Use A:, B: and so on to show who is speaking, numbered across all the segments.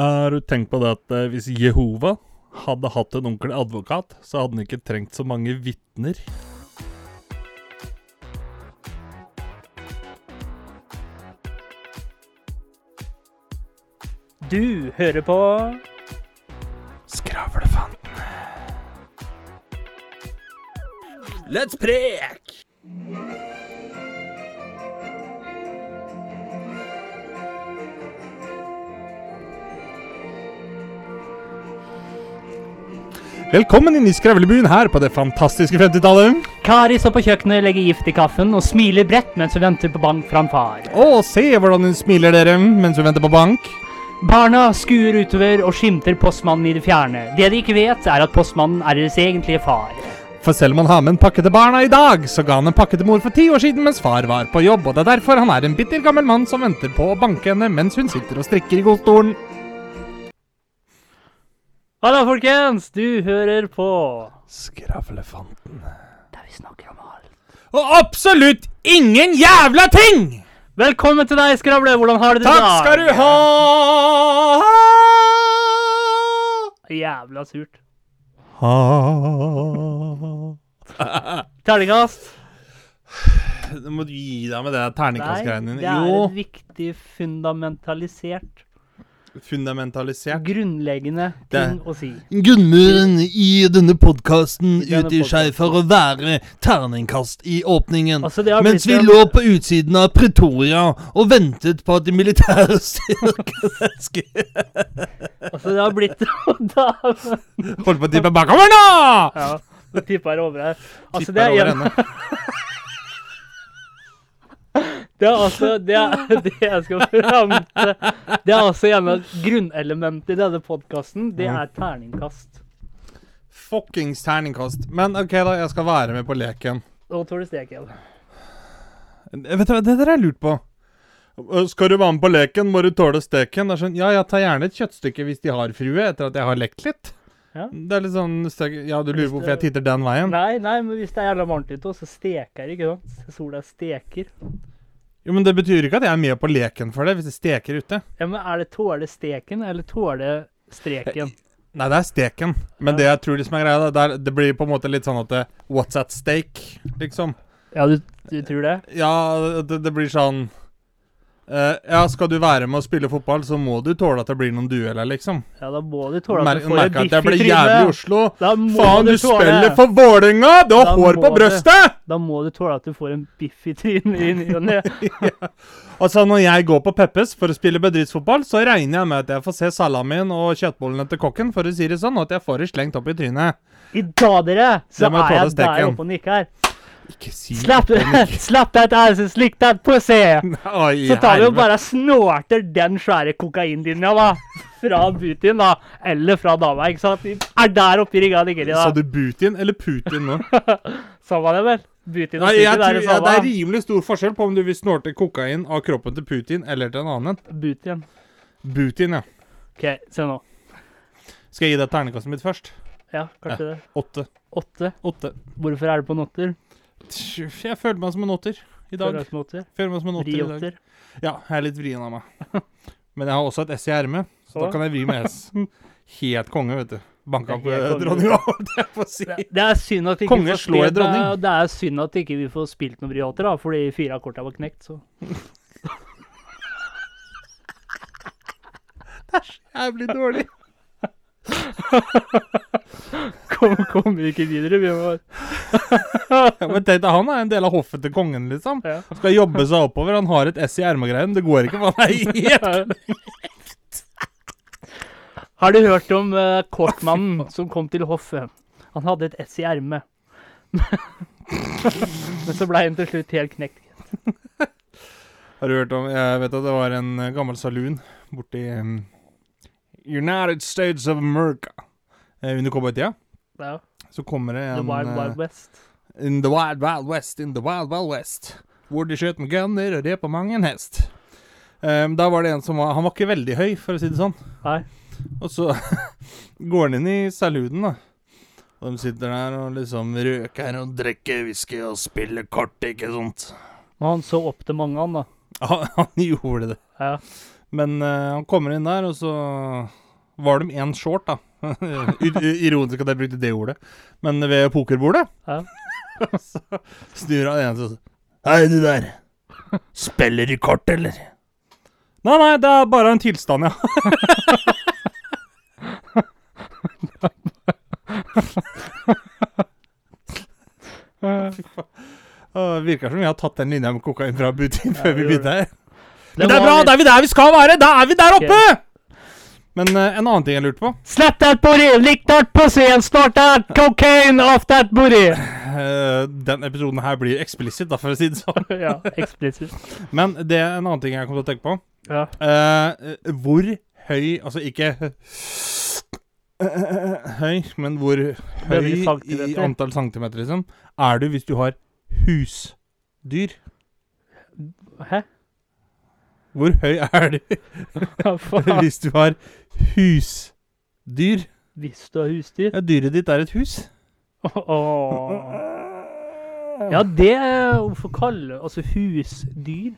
A: Har du tenkt på det at eh, hvis Jehova hadde hatt en ordentlig advokat, så hadde han ikke trengt så mange vitner?
B: Du hører på
A: Skravlefanten. Let's prek! Velkommen inn i skravlebuen her på det fantastiske 50-tallet.
B: Kari står på kjøkkenet, legger gift i kaffen og smiler bredt mens hun venter på bank fra en far.
A: Og se hvordan hun smiler dere mens hun venter på bank.
B: Barna skuer utover og skimter postmannen i det fjerne. Det de ikke vet, er at postmannen er deres egentlige far.
A: For selv om han har med en pakke til barna i dag, så ga han en pakke til mor for ti år siden mens far var på jobb, og det er derfor han er en bitter gammel mann som venter på å banke henne mens hun sitter og strikker i godstolen.
B: Halla, folkens! Du hører på
A: Skravlefanten.
B: Der vi snakker om alt.
A: Og absolutt ingen jævla ting!
B: Velkommen til deg, Skravle. Hvordan har du det i
A: Takk
B: dag?
A: skal du ha!
B: Jævla surt.
A: ha.
B: Terningkast.
A: Du må gi deg med det
B: Nei,
A: terningkastgreiene
B: det
A: dine.
B: er et
A: Jo,
B: viktig fundamentalisert,
A: fundamentalisert.
B: grunnleggende
A: Det-
B: ting å si.
C: Gunnmuren i denne podkasten
B: I denne
C: utgir seg for å være terningkast i åpningen.
B: Altså, det har
C: Mens vi
B: blitt en-
C: lå på utsiden av Pretoria og ventet på at de militære styrkene skulle
B: Altså, det har blitt da,
A: Holdt på å tippe bakover nå!
B: Ja, nå tipper jeg over her. Altså,
A: Tipper
B: det er
A: over
B: en,
A: henne.
B: det er altså det, er, det jeg skal fram til Det er altså en av grunnelementene i denne podkasten. Det
A: Mm.
B: er terningkast.
A: Fuckings terningkast. Men OK, da. Jeg skal være med på leken.
B: Nå tåler du steken.
A: Vet du hva, det der har jeg lurt på. Øh, Skal du være med på leken, må du tåle steken. Det er sånn, ja, jeg tar gjerne et kjøttstykke hvis de har frue, etter at jeg har lekt litt.
B: Ja.
A: Det er litt sånn stek, Ja, du lurer
B: Hvis
A: på hvorfor
B: det-
A: jeg titter den veien.
B: Nei, nei, men hvis det er jævla varmt ute, så steker det, ikke sant? Sola steker.
A: Jo, men det betyr ikke at jeg er med på leken for det, hvis det steker ute.
B: Ja, men er det tåle steken, eller tåle streken?
A: Nei, det er steken. Men det jeg tror liksom er greia, det, er, det blir på en måte litt sånn at det, What's at stake, liksom.
B: Ja, du, du tror det?
A: Ja, det, det blir sånn eh, Ja, skal du være med å spille fotball, så må du tåle at det blir noen dueller, liksom.
B: Ja, da må du tåle at
A: Mer,
B: du får en
A: merker at jeg
B: biff i
A: ble jævlig i
B: trynet.
A: Oslo.
B: Da må
A: Faen, du
B: tåle-
A: spiller for Vålerenga! Du har
B: Da
A: hår
B: må
A: på
B: det.
A: brøstet!
B: Da må du tåle at du får en biff i trynet i ny og ne.
A: Altså, når jeg går på Peppes for å spille bedriftsfotball, så regner jeg med at jeg får se salamien og kjøttbollene til kokken, for å si det sånn, og at jeg får det slengt opp i trynet.
B: I dag, dere, så
A: Det må
B: er
A: jeg
B: jeg
A: tåle
B: der
A: steken.
B: oppe og nikker.
A: Ikke si
B: Slapp, slapp that ass, slick that pussy!
A: Oi,
B: Så tar vi og
A: helvete.
B: bare snorter den svære kokainlinja, da. Fra Putin, da. Eller fra dama, ikke sant. Vi er der oppe i rigga ligger de,
A: Sa
B: da.
A: du Putin eller Putin nå?
B: Samme det, vel? Putin og
A: Nei, jeg
B: Putin er
A: tror,
B: det
A: ja, det er
B: samme.
A: rimelig stor forskjell på om du vil snorte kokain av kroppen til Putin eller til en annen.
B: Putin.
A: Putin, ja.
B: OK, se nå.
A: Skal jeg gi deg ternekastet mitt først?
B: Ja, kanskje det.
A: Åtte.
B: Åtte.
A: Åtte.
B: Hvorfor er det på en åtter?
A: Tj, Jeg føler meg som en åtter i dag.
B: Føler jeg som en åtter?
A: Føler meg som en åtter i dag.
B: Riåtter.
A: Ja, jeg er litt vrien av meg. Men jeg har også et S i ermet, så da
B: Å.
A: kan jeg vri med S. Helt konge, vet du. Banka
B: Det
A: på
B: er helt konge.
A: dronninga, holdt jeg på å si.
B: Det det er synd at ikke
A: Konge
B: vi får
A: slår
B: spilt-
A: dronning.
B: Det er- Det er synd at ikke vi får spilt noen briater, da, fordi fire av korta var knekt, så
A: Jeg blir dårlig.
B: kom, kommer vi ikke videre. Vi må
A: Ja, men tenk deg, han er en del av hoffet til kongen, liksom.
B: ja.
A: Skal jobbe seg oppover. Han har et S i ermet-greien. Det går ikke, for han er helt
B: Har du hørt om eh, Kortmannen som kom til hoffet? Han hadde et S i ermet. Men så blei han til slutt helt knekt.
A: Har du hørt om Jeg vet at det var en eh, gammel saloon borti um, United States of America. Eh, Under cowboytida
B: Ja.
A: så kommer det
B: The
A: en
B: Wild
A: eh,
B: Wild West.
A: In the wild, wild west, in the wild, wild west. Hvor de skjøt med gunner og drepa mange en hest. Ehm, da var det en som var Han var ikke veldig høy, for å si det sånn.
B: Nei.
A: Og så går han inn i saluden, da. Og de sitter der og liksom røker og drikker whisky og spiller kort, ikke sant.
B: Men han så opp til mange, han, da.
A: Ja, han gjorde det.
B: Ja.
A: Men eh, han kommer inn der, og så var de én short, da. I- i- Ironisk at jeg brukte det ordet. Men ved pokerbordet
B: Ja.
A: så snur han ene seg og sier Hei, du der. Spiller du kort, eller? Nei, nei, det er bare en tilstand, ja. Åh, Det virker som vi har tatt den linja med kokain fra butikken før vi
B: vi gjorde
A: begynte her. Men det er bra! Da er vi der vi skal være! Da er vi der oppe! Men eh, en annen ting jeg lurte på
B: Slap that booty, lick that pussy, and snort that cocaine off that booty!
A: Eh, Den episoden her blir eksplisitt, da, for å si det sånn.
B: ja, eksplisitt.
A: Men det er en annen ting jeg kom til å tenke på.
B: Ja.
A: Eh, eh, hvor høy Altså ikke eh, høy, men hvor høy
B: Veldig
A: i
B: centimeter.
A: antall centimeter, liksom, er du hvis du har husdyr?
B: Hæ?
A: Hvor høy er du
B: Hva faen?
A: hvis du har husdyr?
B: Hvis du har husdyr?
A: Ja, dyret ditt er et hus.
B: Åh. Ja, det er Hvorfor kalle Altså, husdyr?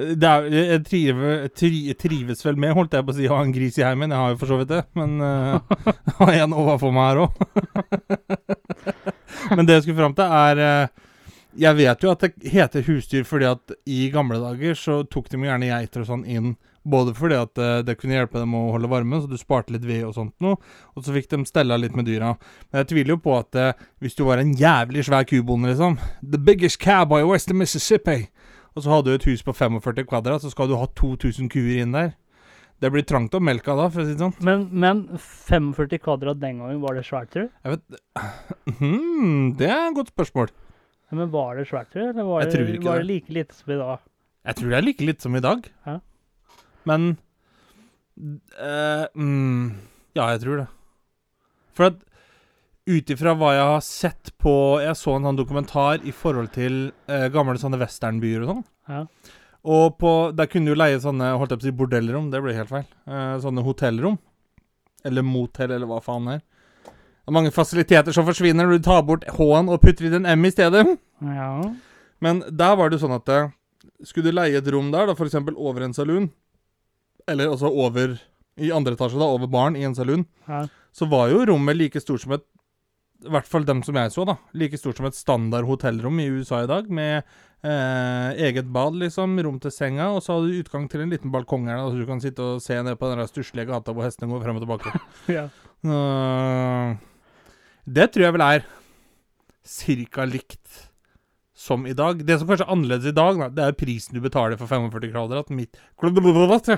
A: Det er, jeg, trive, tri, jeg trives vel med, holdt jeg på å si, å ha en gris i heimen. Jeg har jo for så vidt det, men eh, jeg har en overfor meg her òg. men det jeg skulle fram til, er eh, Jeg vet jo at det heter husdyr fordi at i gamle dager så tok de jo gjerne geiter og sånn inn. Både fordi at eh, det kunne hjelpe dem å holde varmen, så du sparte litt ved og sånt noe. Og så fikk de stella litt med dyra. Men jeg tviler jo på at eh, hvis du var en jævlig svær kubonde, liksom The biggest cowboy west of Mississippi. Og så hadde du et hus på 45 kvadrat, så skal du ha 2000 kuer inn der. Det blir trangt om melka da, for å si det sånn.
B: Men, men 45 kvadrat den gangen, var det svært, tror du?
A: Jeg vet, hmm, det er et godt spørsmål.
B: Ja, Men var det svært, tror du? Eller var
A: Jeg
B: det,
A: tror ikke
B: var
A: det.
B: det like lite som i dag?
A: Jeg tror det er like litt som i dag.
B: Ja.
A: Men eh, mm, Ja, jeg tror det. For at ut ifra hva jeg har sett på Jeg så en sånn dokumentar i forhold til eh, gamle sånne westernbyer og sånn.
B: Ja.
A: Og på, der kunne du leie sånne holdt jeg på å si, bordellrom, det ble helt feil. Eh, sånne hotellrom. Eller motell, eller hva faen det er. Det er mange fasiliteter som forsvinner når du tar bort H-en og putter i en M i stedet.
B: Ja.
A: Men der var det jo sånn at eh, skulle du leie et rom der, da f.eks. over en saloon, eller altså over i andre etasje, da, over baren i en saloon,
B: ja.
A: så var jo rommet like stort som et I hvert fall dem som jeg så, da. Like stort som et standard hotellrom i USA i dag, med eh, eget bad, liksom, rom til senga, og så hadde du utgang til en liten balkong her, da, så du kan sitte og se ned på den der stusslige gata hvor hestene går frem og tilbake.
B: ja.
A: Eh, Det tror jeg vel er cirka likt som i dag. Det som kanskje er annerledes i dag, da, det er prisen du betaler for 45 kvadrat. Mitt 45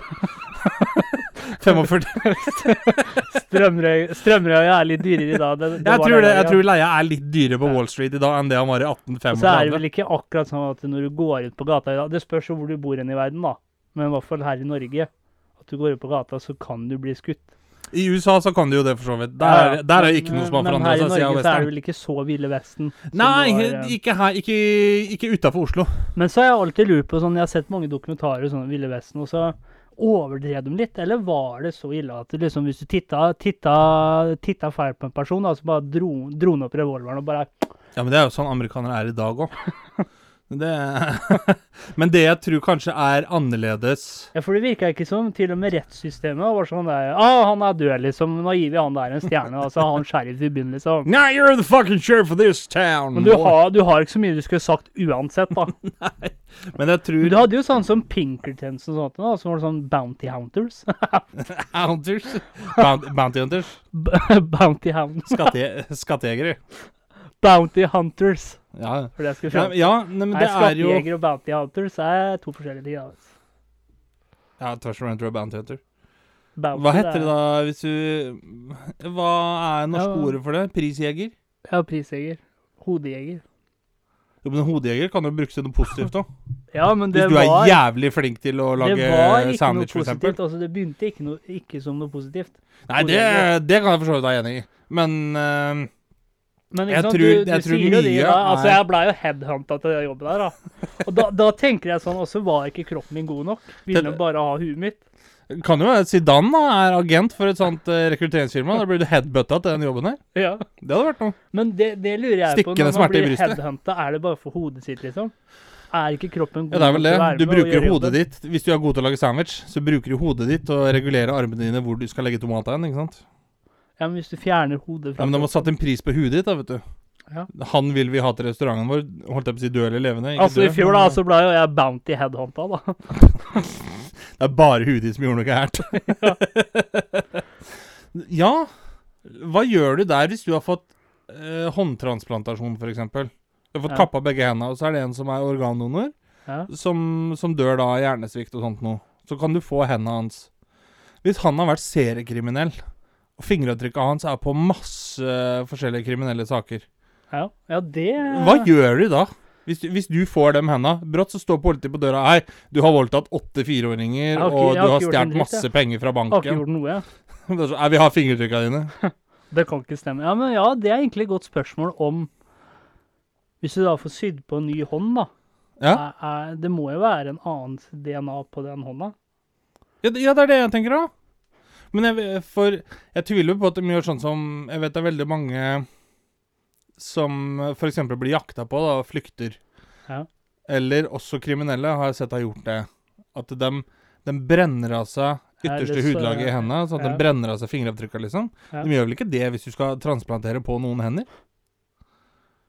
B: Strømrøy, Strømrøy er litt dyrere i dag. Det, det
A: Jeg
B: var
A: tror, det,
B: der,
A: jeg
B: ja.
A: tror leia er litt dyrere på Wall Street i dag enn det han var i
B: Og så er det
A: 1835.
B: vel ikke akkurat sånn at når du går ut på gata i dag Det spørs jo hvor du bor hen i verden, da. Men i hvert fall her i Norge. At du går ut på gata, så kan du bli skutt.
A: I USA så kan du jo det, for så vidt. Der,
B: Ja,
A: er-
B: ja.
A: der er
B: Men-
A: det ikke noe som har
B: men
A: forandra seg
B: her i
A: siden
B: Norge så er det
A: western.
B: vel ikke så Ville Vesten. som det var,
A: Nei,
B: eh,
A: ikke her. Ikke, ikke utafor Oslo.
B: Men så har jeg alltid lurt på sånn Jeg har sett mange dokumentarer sånn om Ville Vesten, og så overdrev de litt. Eller var det så ille at det liksom, hvis du titta, titta, titta feil på en person, da, så bare dro, dro han opp revolveren og bare
A: Ja, men det er jo sånn amerikanere er i dag òg. Det... men det jeg tror kanskje er annerledes
B: Ja, for det virka ikke som til og med rettssystemet var sånn der ah, han er død, liksom. Nå gir vi han der en stjerne, og så har han sheriff i bunnen, liksom.
A: Now you're the fucking sheriff of this town!
B: Men du har, du har ikke så mye du skulle sagt uansett, da.
A: Men jeg
B: Men
A: tror
B: Du hadde jo sånn som Pinkertons og sånt, da, som var sånn Bounty Hunters.
A: Hunters. Bount, bounty Hunters.
B: B- bounty Hound.
A: Skatte, skattejegere.
B: Bounty Hunters.
A: Ja,
B: For det jeg skulle
A: ja,
B: fram.
A: ja nei, men
B: Nei,
A: det er jo
B: Skattejeger og Bounty Hunters er to forskjellige ting. Altså.
A: Ja, tvers om jeg tror det er Bounty Hunter.
B: Bounty,
A: Hva heter
B: er-
A: det da hvis du Hva er norske
B: Ja.
A: ordet for det? Prisjeger?
B: Ja, prisjeger. Hodejeger.
A: Jo, men hodejeger kan jo brukes til noe positivt òg.
B: Ja, men
A: Hvis
B: det
A: du er
B: var,
A: jævlig flink til å
B: det var
A: lage
B: ikke noe
A: sandwich, for eksempel.
B: positivt. Altså, det begynte ikke, noe, ikke som noe positivt.
A: Nei, det, det kan jeg for så vidt være enig i. Men eh,
B: Men
A: Jeg
B: ikke sant,
A: tror-
B: du, du
A: jeg tror
B: sier jo det,
A: mye
B: da. Altså,
A: er-
B: jeg blei jo headhunta til den jobben der, da. Og da, da tenker jeg sånn også, var ikke kroppen min god nok? Ville
A: Det-
B: bare ha huet mitt?
A: Kan jo være Zidane da, er agent for et sånt eh, rekrutteringsfirma. Da blir du headbutta til den jobben her.
B: Ja.
A: Det hadde vært noe.
B: Men det, det lurer jeg på
A: Stikkende
B: når man
A: smerte i
B: blir
A: brystet.
B: headhunta. Er det bare for hodet sitt, liksom? er ikke kroppen god
A: Ja, det er vel det.
B: til å være
A: Du
B: med og
A: bruker
B: gjøre
A: hodet
B: jobben.
A: ditt. Hvis du er god til å lage sandwich, så bruker du hodet ditt og regulerer armene dine hvor du skal legge tomatene, ikke sant?
B: Ja, men hvis du fjerner hodet fra
A: Ja, men de har satt en pris på huet ditt, da, vet du.
B: Ja.
A: Han vil vi ha til restauranten vår. Holdt jeg på å si død eller levende. ikke
B: Altså, i
A: død,
B: fjor da,
A: men-
B: så ble jo jeg bounty headhunta, da.
A: Det er bare huet ditt som gjorde noe gærent. ja. Hva gjør du der hvis du har fått eh, håndtransplantasjon, f.eks.? Du har fått
B: Ja.
A: kappa begge hendene, og så er det en som er organdonor,
B: Ja.
A: som, som dør da av hjernesvikt og sånt noe. Så kan du få hendene hans. Hvis han har vært seriekriminell, og fingeravtrykket hans er på masse eh, forskjellige kriminelle saker,
B: Ja, ja det
A: hva gjør du da? Hvis du, hvis du får dem henda, brått så står politiet på døra Hei, du har voldtatt åtte fireåringer,
B: Jeg har ikke-
A: og
B: jeg
A: du
B: har
A: har
B: ikke gjort en
A: stjålet
B: dritt,
A: masse penger fra
B: Jeg Har ikke
A: banken.
B: gjort noe, jeg.
A: Det er så, Nei, vi har fingertrykka dine.
B: Det kan ikke stemme. Ja, men ja, det er egentlig et godt spørsmål om Hvis du da får sydd på en ny hånd, da.
A: Ja.
B: Er, er, det må jo være en annen DNA på den hånda.
A: Ja, det- ja, det er det jeg tenker òg. Men jeg, ve- for jeg tviler jo på at de gjør sånn som Jeg vet det er veldig mange som f.eks. blir jakta på da, og flykter.
B: Ja.
A: Eller også kriminelle har jeg sett har gjort det. At de, de brenner av seg
B: Ja, det
A: ytterste
B: så-
A: hudlaget i hendene. Sånn at
B: ja.
A: de brenner av seg fingeravtrykka, liksom.
B: Ja.
A: De gjør vel ikke det hvis du skal transplantere på noen hender?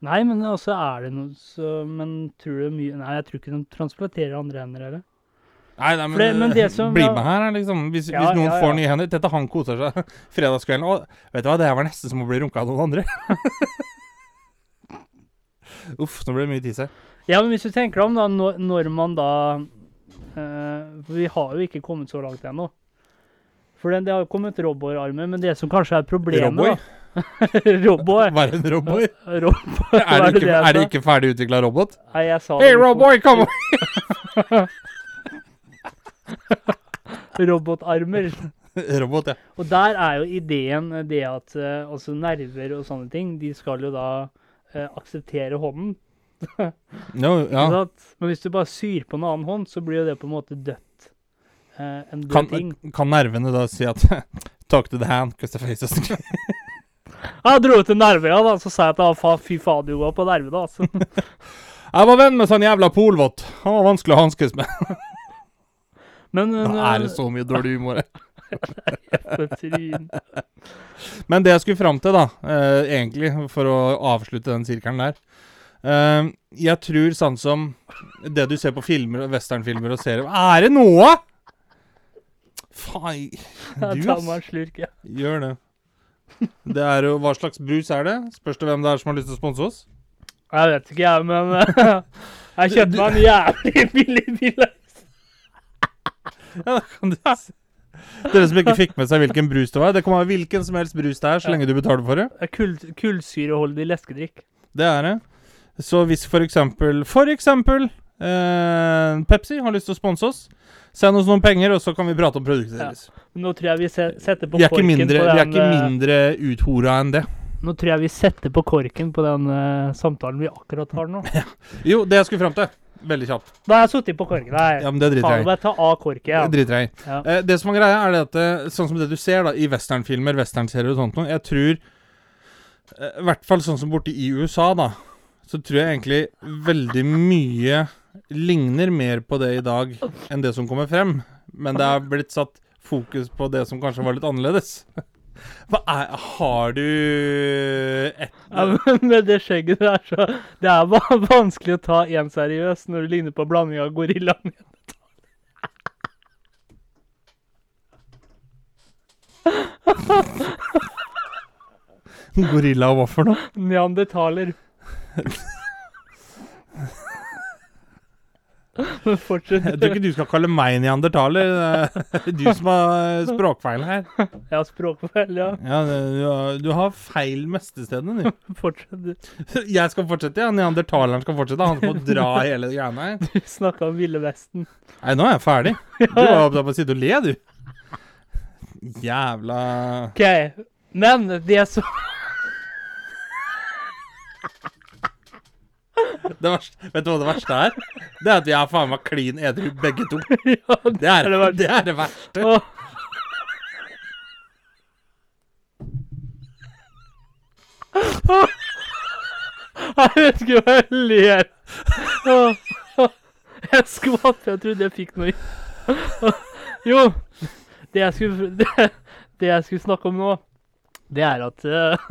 B: Nei, men altså er det noe så, Men tror du mye Nei, jeg tror ikke de transplanterer andre hender heller.
A: Nei, nei, men, eh,
B: For det- men det som-
A: bli med her, er liksom. Hvis,
B: Ja,
A: hvis noen
B: ja, ja.
A: får nye hender Dette han koser seg fredagskvelden. Og vet du hva, det her var nesten som å bli runka av noen andre. Uff, nå ble det mye tiss her.
B: Ja, men hvis du tenker deg om, da, når, når man da eh, For vi har jo ikke kommet så langt ennå. For det, det har jo kommet robotarmer, men det som kanskje er problemet
A: Robboy?
B: da- Roboy?
A: Være en robot?
B: Rob-
A: Er
B: Hva
A: det
B: er det
A: ikke,
B: det
A: er det
B: heter?
A: ikke ferdig utvikla robot?
B: Nei, jeg sa det
A: Hey,
B: litt fort.
A: Roboy, come on!
B: Robotarmer.
A: Robot, ja.
B: Og der er jo ideen eh, det at eh, altså nerver og sånne ting, de skal jo da eh, akseptere hånden.
A: Jo, ja.
B: Ikke sant? Men hvis du bare syr på en annen hånd, så blir jo det på en måte dødt. Eh, en død
A: Kan,
B: ting.
A: kan nervene da si at Talk to the hand, cause the face is
B: Jeg dro ut en nerve, ja, da, så sa jeg til han faen, fy faen, du var på nerve, da. Altså.
A: Jeg var venn med sånn jævla polvott. Han var vanskelig å hanskes med.
B: Men eh,
A: Nå
B: men,
A: er det så mye dårlig humor her.
B: eh, tryn.
A: Men det jeg skulle fram til, da, eh, egentlig, for å avslutte den sirkelen der eh, Jeg tror sånn som det du ser på filmer, og westernfilmer og serier Er det noe?! Faen Du,
B: Jeg tar meg
A: ass.
B: en slurk, ja.
A: Gjør det. Det er jo Hva slags brus er det? Spørs det hvem det er som har lyst til å sponse oss.
B: Jeg vet ikke, jeg, men eh, jeg kjøpte meg en jævlig billig bil.
A: Ja, da kan du s- Dere som ikke fikk med seg hvilken brus det var Det kan være hvilken som helst brus det er, så lenge du betaler for det.
B: Kull, kullsyreholdig leskedrikk.
A: Det er det. Så hvis for eksempel For eksempel eh, Pepsi har lyst til å sponse oss, send oss noen penger, og så kan vi prate om produktet
B: Ja.
A: deres.
B: Nå tror jeg vi se, setter på
A: Vi er ikke
B: korken
A: mindre,
B: på
A: vi er
B: den
A: ikke
B: eh,
A: mindre uthora enn det.
B: Nå tror jeg vi setter på korken på den eh, samtalen vi akkurat har nå.
A: Jo, det jeg skulle fram til. Veldig kjapt.
B: Da har jeg sittet på korken. Nei,
A: Ja, men det driter
B: faen,
A: jeg i.
B: bare ta av korken.
A: Det
B: Ja.
A: driter jeg i.
B: Ja.
A: Eh, det som er greia, er det at eh, sånn som det du ser da, i westernfilmer, westernserier og sånt noe, jeg tror eh, I hvert fall sånn som borte i USA, da, så tror jeg egentlig veldig mye ligner mer på det i dag enn det som kommer frem. Men det er blitt satt fokus på det som kanskje var litt annerledes. Hva er Har du et
B: Ja, men med det skjegget der, så Det er va- vanskelig å ta én seriøst når du ligner på blanding av gorillaen.
A: Gorilla og hva for noe?
B: Neandertaler. Men fortsett.
A: Jeg tror ikke du skal kalle meg neandertaler. Det er du som har språkfeil her.
B: Jeg har språkfeil, ja.
A: Ja, det- du har, du har feil mestestedene, du.
B: Fortsett.
A: Jeg skal fortsette, ja. Neandertaleren skal fortsette. Han skal få dra hele greiene her.
B: Du snakka om Ville Vesten.
A: Nei, nå er jeg ferdig. Du var opptatt med å sitte og le, du. Jævla
B: OK. Men det som
A: det verste, Vet du hva det verste er? Det er at vi er faen meg klin edru begge to.
B: ja,
A: Det er det,
B: det verste.
A: er det verste.
B: Åh. Jeg vet ikke hva jeg ler Åh, åh. jeg skvatt, for jeg trodde jeg fikk noe Jo, det jeg skulle, det, det jeg skulle snakke om nå, det er at eh,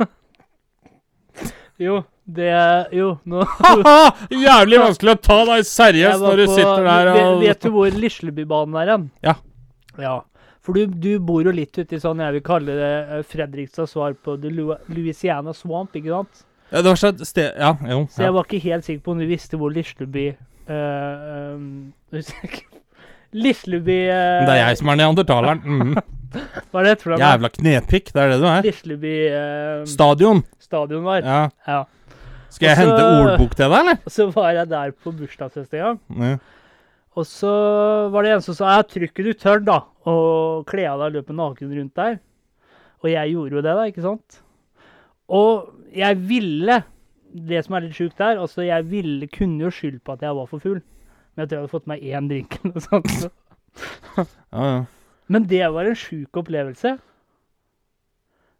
B: Jo, det Jo, nå
A: Jævlig vanskelig å ta deg seriøst
B: Jeg var
A: når du
B: på-
A: sitter der
B: Vet-
A: og
B: Vet du hvor Lislebybanen er hen?
A: Ja.
B: ja. For du, du bor jo litt uti sånn jeg vil kalle det eh, Fredrikstads svar på the Lu- Louisiana Swamp, ikke sant?
A: ja, Det var så et sted Ja, jo.
B: Så jeg var ikke helt sikker på om du visste hvor Lisleby uh, um, Lisleby eh,
A: Det er jeg som er neandertaleren. Mhm.
B: Hva er det heter for noe?
A: Jævla knepikk, det er det du er.
B: Lisleby eh,
A: Stadion.
B: stadion var.
A: Ja.
B: Ja.
A: Skal jeg
B: Og så-
A: hente ordbok til deg, eller?
B: Og så var jeg der på bursdagsfest en gang.
A: Ja.
B: Og så var det en som sa ja, trykk du tør, da, og kle av deg løpe naken rundt der. Og jeg gjorde jo det, da, ikke sant? Og jeg ville Det som er litt sjukt der, altså jeg ville, kunne jo skyldt på at jeg var for full. Men jeg tror jeg hadde fått meg én drink eller noe sånt. så-
A: Ja, ja.
B: Men det var en sjuk opplevelse.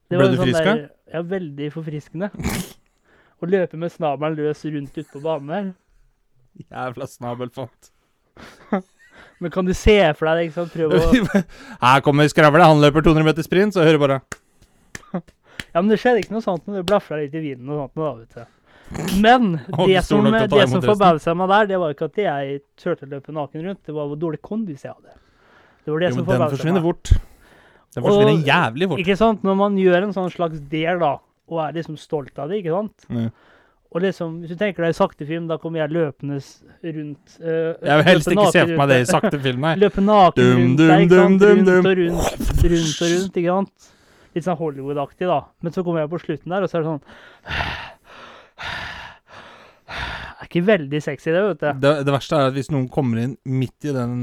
B: Det
A: Ble
B: var en sånn
A: du frisk,
B: der- Ja, veldig forfriskende. Å løpe med snabelen løs rundt ute på banen der.
A: Jævla snabelfant.
B: Men kan du se for deg det, ikke sant? Prøv å
A: Her kommer skravle. Han løper 200 meter sprint, så hører du bare
B: Ja, men det skjedde ikke noe sånt, men det blafra litt i vinden og sånt. nå Da, vet du. Men
A: Å,
B: det
A: du står
B: som,
A: nok til å ta
B: det
A: imot
B: som
A: resten.
B: forbausa meg der, det var ikke at jeg turte å løpe naken rundt, det var hvor dårlig kondis jeg hadde. Det var det
A: Jo,
B: som
A: men den
B: forbausa
A: forsvinner
B: meg.
A: fort. Den forsvinner
B: Og-
A: jævlig fort.
B: Ikke sant? Når man gjør en sånn slags del, da, og er liksom stolt av det, ikke sant?
A: Ja.
B: Og liksom, Hvis du tenker deg i sakte film, da kommer jeg løpende s- rundt eh,
A: Jeg vil helst
B: løpe
A: ikke se
B: naken
A: for
B: rundt
A: meg det i
B: der.
A: sakte film, nei.
B: Løpe naken
A: Dum,
B: rundt
A: dum,
B: der, ikke
A: dum,
B: sant?
A: dum,
B: rundt og rundt, rundt og rundt, ikke sant? Litt sånn Hollywood-aktig, da. Men så kommer jeg på slutten der, og så er det sånn Det er ikke veldig sexy, det, vet du.
A: Det, det verste er at hvis noen kommer inn midt i den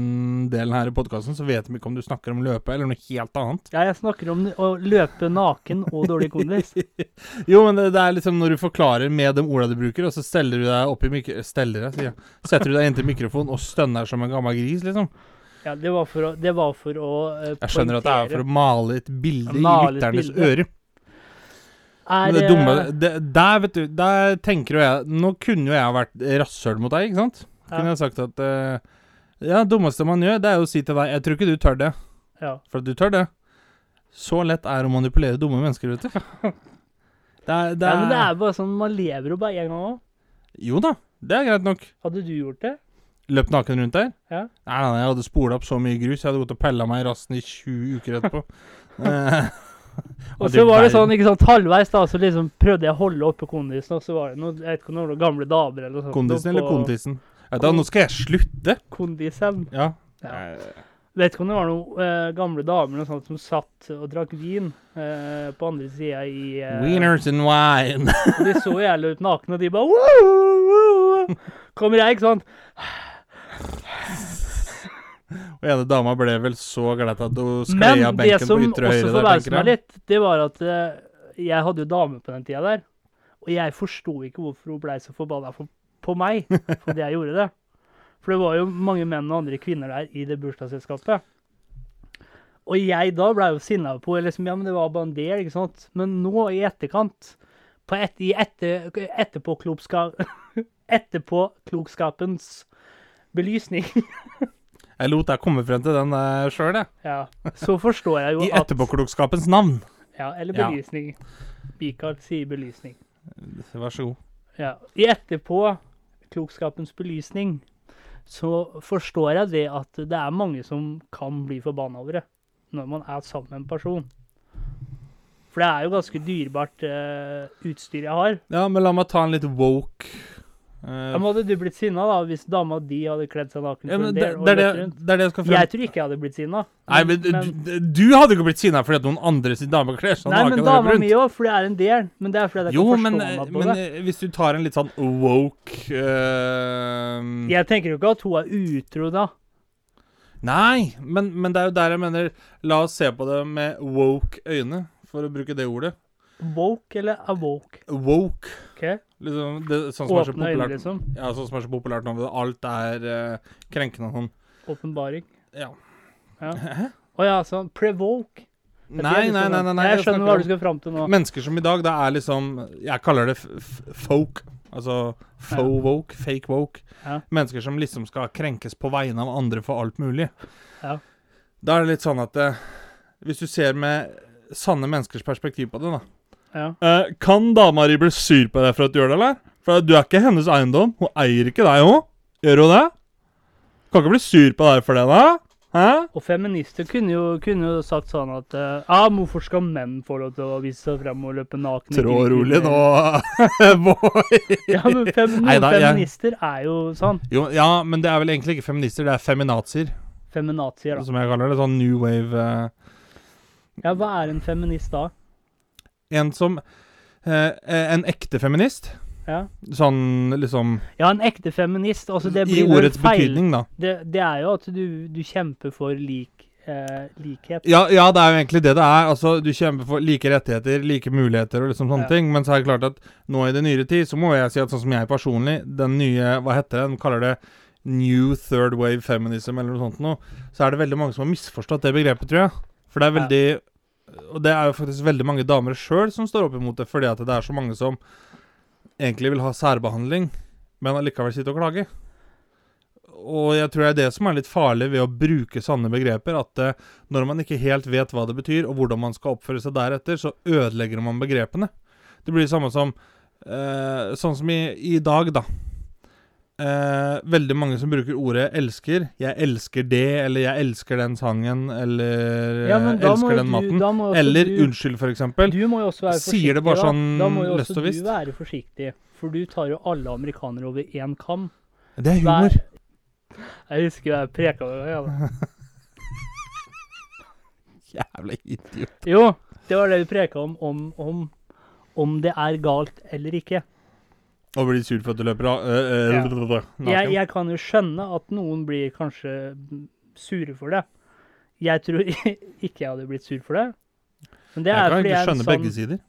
A: delen her i podkasten, så vet de ikke om du snakker om løpe eller noe helt annet.
B: Ja, jeg snakker om å løpe naken og dårlig kondis.
A: Jo, men det, det er liksom når du forklarer med de orda du bruker, og så steller du deg opp i mikro... Steller deg, sier jeg. Setter du deg inntil mikrofonen og stønner som en gammel gris, liksom.
B: Ja, det var for å, det var for å eh,
A: Jeg skjønner at det er for å male et bilde i
B: Male et
A: lytternes
B: bilde.
A: ører.
B: poengtere.
A: Men det
B: Er,
A: dumme
B: eh,
A: det, Der, vet du, der tenker jo jeg Nå kunne jo jeg vært rasshøl mot deg, ikke sant? Kunne
B: Ja.
A: jeg sagt at eh, Ja, dummeste man gjør, det er jo å si til deg Jeg tror ikke du tør det,
B: ja.
A: for du tør det. Så lett er å manipulere dumme mennesker, vet du. Det er, det
B: ja,
A: er,
B: men det er bare sånn Man lever jo bare én gang òg.
A: Jo da, det er greit nok.
B: Hadde du gjort det?
A: Løp naken rundt der?
B: Ja.
A: Nei, nei, jeg hadde spola opp så mye grus. Jeg hadde gått og pella meg i rassen i 20 uker etterpå. Eh,
B: Og
A: hadde
B: så var det
A: verden-
B: sånn, ikke sant, halvveis da, så liksom prøvde jeg å holde oppe kondisen, og så var det noen, jeg vet ikke om det var noen gamle damer eller noe sånt.
A: Kondisen eller
B: på-
A: kontissen? Ja, da, nå skal jeg slutte!
B: Kondisen.
A: Ja.
B: Ja.
A: Eh,
B: Vet ikke om det var noen eh, gamle damer eller noe sånt som satt og drakk vin eh, på andre sida i eh,
A: Wieners and wine.
B: og De så jævlig ut nakne, og de bare «Woo, woo, woo». Kommer jeg, ikke sant?
A: Og ene dama ble vel så glatt at hun sklei av
B: Men det
A: benken på
B: som
A: ytre
B: også
A: høyre der,
B: forbauset
A: tenker
B: meg
A: jeg.
B: litt, det var at eh, jeg hadde jo dame på den tida der, og jeg forsto ikke hvorfor hun blei så forbanna for, på meg fordi jeg gjorde det. For det var jo mange menn og andre kvinner der i det bursdagsselskapet. Og jeg da blei jo sinna på liksom, Ja, men det var bare en del, ikke sant? Men nå, i etterkant, på et, i etter, etterpåklokska- etterpåklokskapens belysning,
A: Jeg lot deg komme frem til den uh, sjøl, jeg.
B: ja, så forstår jeg jo
A: I
B: at
A: etterpåklokskapens navn.
B: Ja, eller
A: Ja.
B: belysning. Michael sier belysning.
A: Vær så god.
B: Ja. I etterpå, klokskapens belysning, så forstår jeg det at det er mange som kan bli forbanna over det når man er sammen med en person. For det er jo ganske dyrebart eh, utstyr jeg har.
A: Ja, men la meg ta en litt woke eh,
B: Da måtte du blitt sinna da, hvis dama di hadde kledd seg naken
A: ja,
B: for
A: men
B: en
A: det,
B: del og
A: det, er
B: løpt
A: det,
B: rundt.
A: det er det jeg skal frem
B: Jeg tror ikke jeg hadde blitt sinna.
A: Nei, men du, sånn du hadde jo ikke blitt sinna fordi at noen andre sin dame kler seg
B: Nei, men
A: naken og
B: dama
A: løper
B: mi
A: rundt.
B: òg, for det er en del. Men det er fordi jeg
A: Jo,
B: ikke forstår
A: men,
B: meg på
A: men
B: det.
A: eh, hvis du tar en litt sånn woke eh,
B: Jeg tenker jo ikke at hun er utro da.
A: Nei, men, men det er jo der jeg mener La oss se på det med woke øyne, for å bruke det ordet.
B: Woke eller awoke?
A: Woke.
B: Ok?
A: Liksom, det, sånn, som er så
B: Åpne øyne,
A: populært,
B: liksom.
A: ja, sånn som er så populært nå. Alt er eh, krenkende og sånn.
B: Åpenbaring.
A: Ja.
B: Ja.
A: Hæ?
B: Å ja, sånn prevoke. Det
A: Nei,
B: er det jeg
A: nei,
B: liksom-
A: nei. nei, nei
B: Jeg skjønner hva du skal fram til nå.
A: Mennesker som i dag, det er liksom Jeg kaller det f f folk. Altså faux woke, fake woke.
B: Ja.
A: Mennesker som liksom skal krenkes på vegne av andre for alt mulig.
B: Ja.
A: Da er det litt sånn at eh, Hvis du ser med sanne menneskers perspektiv på det, da
B: Ja.
A: Eh, Kan dama di bli sur på deg for at du gjør det, eller? For du er ikke hennes eiendom. Hun eier ikke deg, hun. Gjør hun det? Kan ikke bli sur på deg for det, da. Hæ?
B: Og feminister kunne jo, kunne jo sagt sånn at eh, Ja, men hvorfor skal menn få lov til å vise seg frem og løpe nakne?
A: Trå
B: rundt i
A: rolig nå,
B: verden?
A: boy.
B: Ja, men fem, noen
A: Neida, jeg-
B: feminister er jo sånn.
A: Jo, ja, men det er vel egentlig ikke feminister, det er feminazier,
B: Feminazier, da.
A: som jeg kaller det. Sånn new wave eh,
B: Ja, hva er en feminist da?
A: En som eh, En ekte feminist.
B: Ja,
A: Sånn liksom
B: ja en ekte feminist. Altså, det
A: I
B: blir jo
A: ordets
B: feil.
A: betydning, da.
B: Det, det er jo at du, du kjemper for lik, eh, likhet.
A: Ja, ja, det er jo egentlig det det er. Altså, Du kjemper for like rettigheter, like muligheter og liksom sånne
B: Ja.
A: ting. Men så er det klart at nå i det nyere tid, så må jeg si at sånn som jeg personlig, den nye Hva heter det? De kaller det New Third Wave Feminism eller noe sånt noe. Så er det veldig mange som har misforstått det begrepet, tror jeg. For det er veldig Og det er jo faktisk veldig mange damer sjøl som står opp imot det, fordi at det er så mange som egentlig vil ha særbehandling, men allikevel sitter og klager. Og jeg tror det er det som er litt farlig ved å bruke sanne begreper, at eh, når man ikke helt vet hva det betyr, og hvordan man skal oppføre seg deretter, så ødelegger man begrepene. Det blir det samme som eh, Sånn som i, i dag, da. Eh, veldig mange som bruker ordet 'elsker'. 'Jeg elsker det', eller 'jeg elsker den sangen', eller
B: Ja, men
A: eh,
B: da må
A: 'elsker
B: jo
A: den
B: du-
A: maten'.
B: da må jo også
A: Eller
B: du-
A: 'unnskyld', for eksempel.
B: Du må jo også være forsiktig.
A: Sier det bare sånn
B: da. Da må jo
A: løst
B: også
A: og visst.
B: Du være forsiktig, for du tar jo alle amerikanere over én kam.
A: Det er
B: Hver-
A: humor.
B: Jeg husker jeg preka det. Ja. da.
A: Jævla idiot.
B: Jo, det var det vi preka om, om, om, om det er galt eller ikke.
A: Og blir sur for at du løper av. eh, eh,
B: Ja.
A: naken.
B: Jeg, jeg kan jo skjønne at noen blir kanskje mm, sure for det. Jeg tror ikke jeg hadde blitt sur for det. Men det
A: Jeg
B: er
A: kan egentlig
B: fordi jeg er en
A: skjønne
B: sånn
A: begge sider.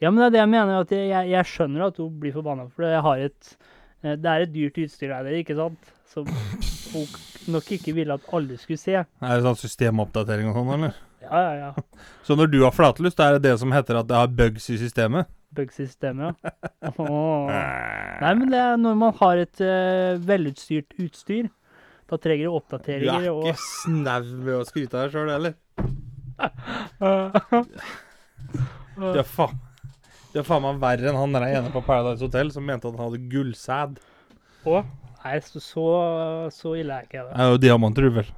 B: Ja, men det er det jeg mener. at Jeg, jeg, jeg skjønner at hun blir forbanna for det. Jeg har et, eh, det er et dyrt utstyr der, ikke sant? Som hun k- nok ikke ville at alle skulle se. Ja,
A: Er det sånn systemoppdatering og sånn, eller?
B: ja, ja.
A: Så når du har flatlyst, da er det det som heter at det har bugs i systemet?
B: Bug-systemet, ja. Åh. Nei, men det er når man har et eh, velutstyrt utstyr, da trenger det
A: Du er
B: oppdateringer og
A: ikke snau med å skryte av deg sjøl, eller? Du er faen Du er faen meg verre enn han der ene på Paradise Hotel som mente at han hadde gullsæd.
B: Å, Nei, så, så, så ille er ikke jeg
A: Det
B: det.
A: er jo diamanter, vel.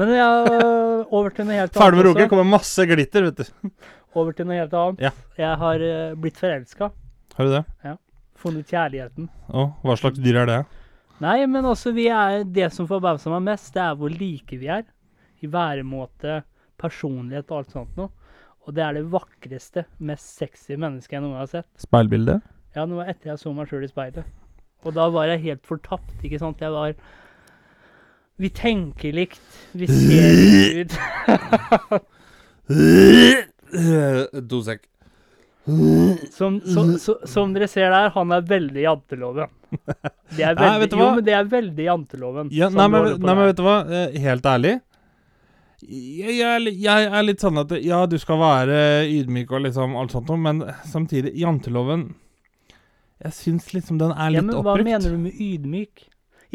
B: Men jeg, eh, over til noe helt annet.
A: Ferdig med roket,
B: også.
A: kommer masse glitter, vet du.
B: Over til noe helt annet.
A: Ja.
B: Jeg har eh, blitt forelska.
A: Har du det?
B: Funnet kjærligheten.
A: Å, hva slags dyr er det?
B: Nei, men altså, vi er det som forbauser meg mest, det er hvor like vi er. I væremåte, personlighet og alt sånt noe. Og det er det vakreste, mest sexy mennesket jeg noen gang har sett.
A: Speilbilde?
B: Ja, det var etter jeg så meg sjøl i speilet. Og da var jeg helt fortapt, ikke sant. Jeg var Vi tenker likt. Vi ser likt ut.
A: Dosekk.
B: Som, så, så, som dere ser der, han er veldig janteloven. Det er
A: Nei,
B: veldig,
A: vet du
B: jo,
A: hva?
B: men det er veldig janteloven.
A: Ja,
B: som
A: nei,
B: du
A: men,
B: holder Sånn på
A: nei, men
B: med.
A: vet du hva? Eh, Helt ærlig. Jeg, jeg, er li- jeg er litt sånn at ja, du skal være ydmyk og liksom alt sånt, noe, men samtidig, janteloven Jeg syns liksom den er
B: ja,
A: litt
B: men hva
A: oppbrukt.
B: mener du med ydmyk?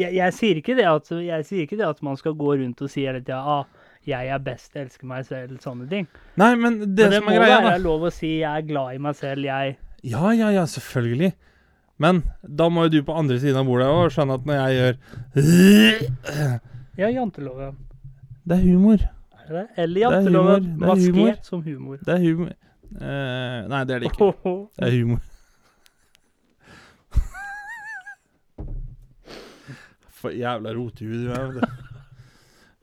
B: Jeg, jeg, sier ikke det at, jeg sier ikke det at man skal gå rundt og si hele tida ah, 'jeg er best, elsker meg selv', sånne ting.
A: Nei, men det,
B: men det
A: som
B: må
A: er greia, da
B: være lov å si 'jeg er glad i meg selv', jeg
A: Ja, ja, ja, selvfølgelig. Men da må jo du på andre siden av bordet òg skjønne at når jeg gjør
B: Ja, janteloven.
A: Det er humor.
B: Er det det? Eller
A: er
B: janteloven
A: humor, det er humor.
B: maskert som humor.
A: Det er humor Eh, Nei, det er det ikke.
B: Ohoho.
A: Det er humor. For jævla rotehue du er. vet du.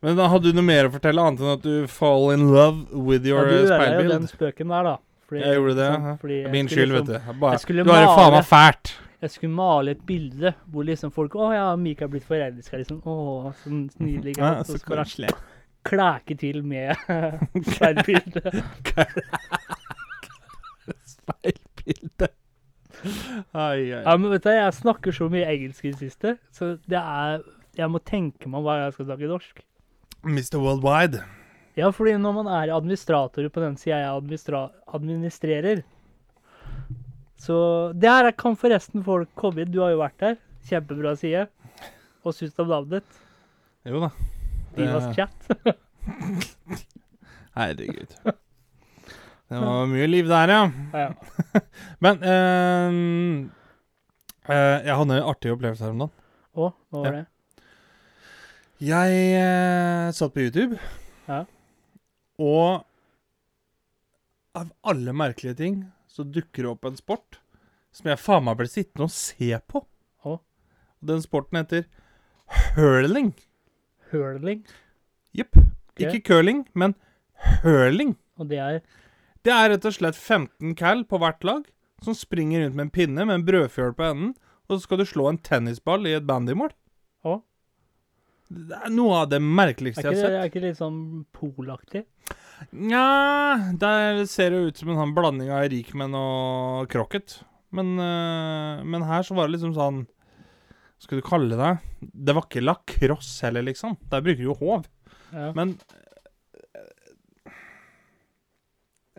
A: Men da hadde du noe mer å fortelle, annet enn at du fall in love with
B: Ja,
A: your
B: du
A: eh,
B: ødela jo den
A: speilbild?
B: spøken der, da. Fordi-
A: Jeg gjorde det.
B: sånn,
A: ja.
B: fordi jeg
A: Min
B: skulle
A: skyld, vet
B: liksom-
A: du. Jeg Bare,
B: jeg skulle
A: du har jo faen
B: male.
A: meg fælt.
B: Jeg skulle male et bilde hvor liksom folk 'Å ja, Mika er blitt forelska', liksom. Å, så nydelig. ikke
A: Ja,
B: sant?
A: så
B: Og så bare
A: koselig.
B: klæke til med speilbildet.
A: Speilbilde. Ai, ai.
B: Ja, men vet du, jeg snakker så mye engelsk i det siste, så det er Jeg må tenke meg om hva jeg skal snakke norsk.
A: Mr. Worldwide.
B: Ja, fordi når man er administrator på den sida jeg administra administrerer, Så det her kan forresten folk komme inn. Du har jo vært der. Kjempebra side. Hva syns du om navnet ditt?
A: Jo da. Det-
B: Divas chat.
A: Herregud. Det var mye liv der, ja.
B: Ja,
A: Men eh, eh, jeg hadde en artig opplevelse her om dagen.
B: Å, hva var
A: Ja.
B: det?
A: Jeg eh, satt på YouTube,
B: Ja.
A: og av alle merkelige ting så dukker det opp en sport som jeg faen meg ble sittende og se på.
B: Å.
A: Den sporten heter hurling.
B: Hurling.
A: Jepp. Ikke curling, men hurling.
B: Og det er
A: Det er rett og slett 15 cal på hvert lag som springer rundt med en pinne med en brødfjøl på enden, og så skal du slå en tennisball i et bandymål.
B: Å.
A: Det er noe av det merkeligste
B: Er
A: jeg har
B: ikke
A: sett.
B: det er ikke litt sånn polaktig?
A: Nja, der ser det ut som en sånn blanding av rikmenn og krokket. Men, eh, men her så var det liksom sånn Skal du kalle det Det var ikke lacrosse heller, liksom. Der bruker du jo håv.
B: Ja.
A: Men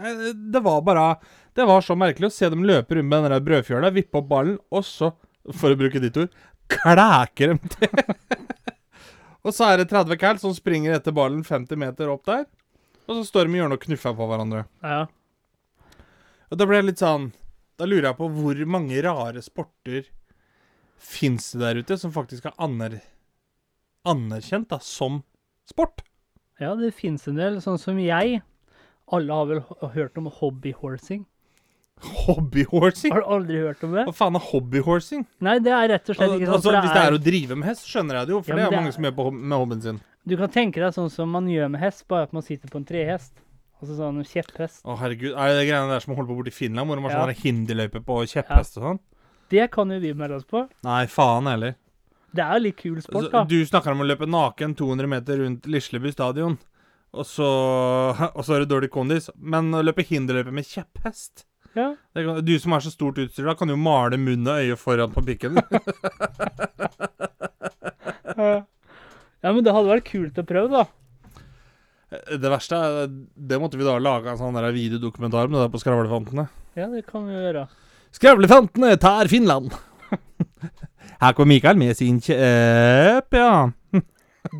A: eh, Det var bare Det var så merkelig å se dem løpe rundt med den der brødfjøla, vippe opp ballen, og så, for å bruke ditt ord, klæker dem til. og så er det 30 cal som springer etter ballen 50 meter opp der. Og så står de i hjørnet og knuffer på hverandre.
B: ja.
A: Og da ble jeg litt sånn Da lurer jeg på hvor mange rare sporter fins det der ute som faktisk er aner, anerkjent da, som sport?
B: ja, det fins en del. Sånn som jeg. Alle har vel h- hørt om hobbyhorsing?
A: Hobbyhorsing?
B: Har du aldri hørt om det?
A: Hva faen er hobbyhorsing?
B: Nei, det er rett og slett ikke sånn.
A: Altså,
B: for
A: hvis det er å drive med hest, skjønner jeg det jo,
B: Ja,
A: for
B: men
A: det
B: det
A: er mange
B: er-
A: som gjør på hob- med hobbyen sin.
B: Du kan tenke deg sånn som man gjør med hest, bare at man sitter på en trehest. Altså sånn kjepphest.
A: Å, herregud. Er det de greiene der som holder på borti Finland, hvor de har
B: Ja.
A: sånne sånn der hinderløyper på kjepphest og sånn?
B: Det kan jo vi melde oss på.
A: Nei, faen heller.
B: Det er jo litt kul sport,
A: Altså,
B: da.
A: du snakker om å løpe naken 200 meter rundt Lisleby stadion, og så, og så er du dårlig kondis. Men å løpe hinderløype med kjepphest
B: Ja.
A: det kan, Du som er så stort utstyr, da kan jo male munn og øye foran på pikken.
B: ja, men det hadde vært kult å prøve, da.
A: det verste er Det måtte vi da lage en sånn der videodokumentar om det der på Skravlefantene.
B: Ja, det kan vi jo gjøre.
A: Skravlefantene tar Finland! Her kom Mikael med sin kjepp, ja.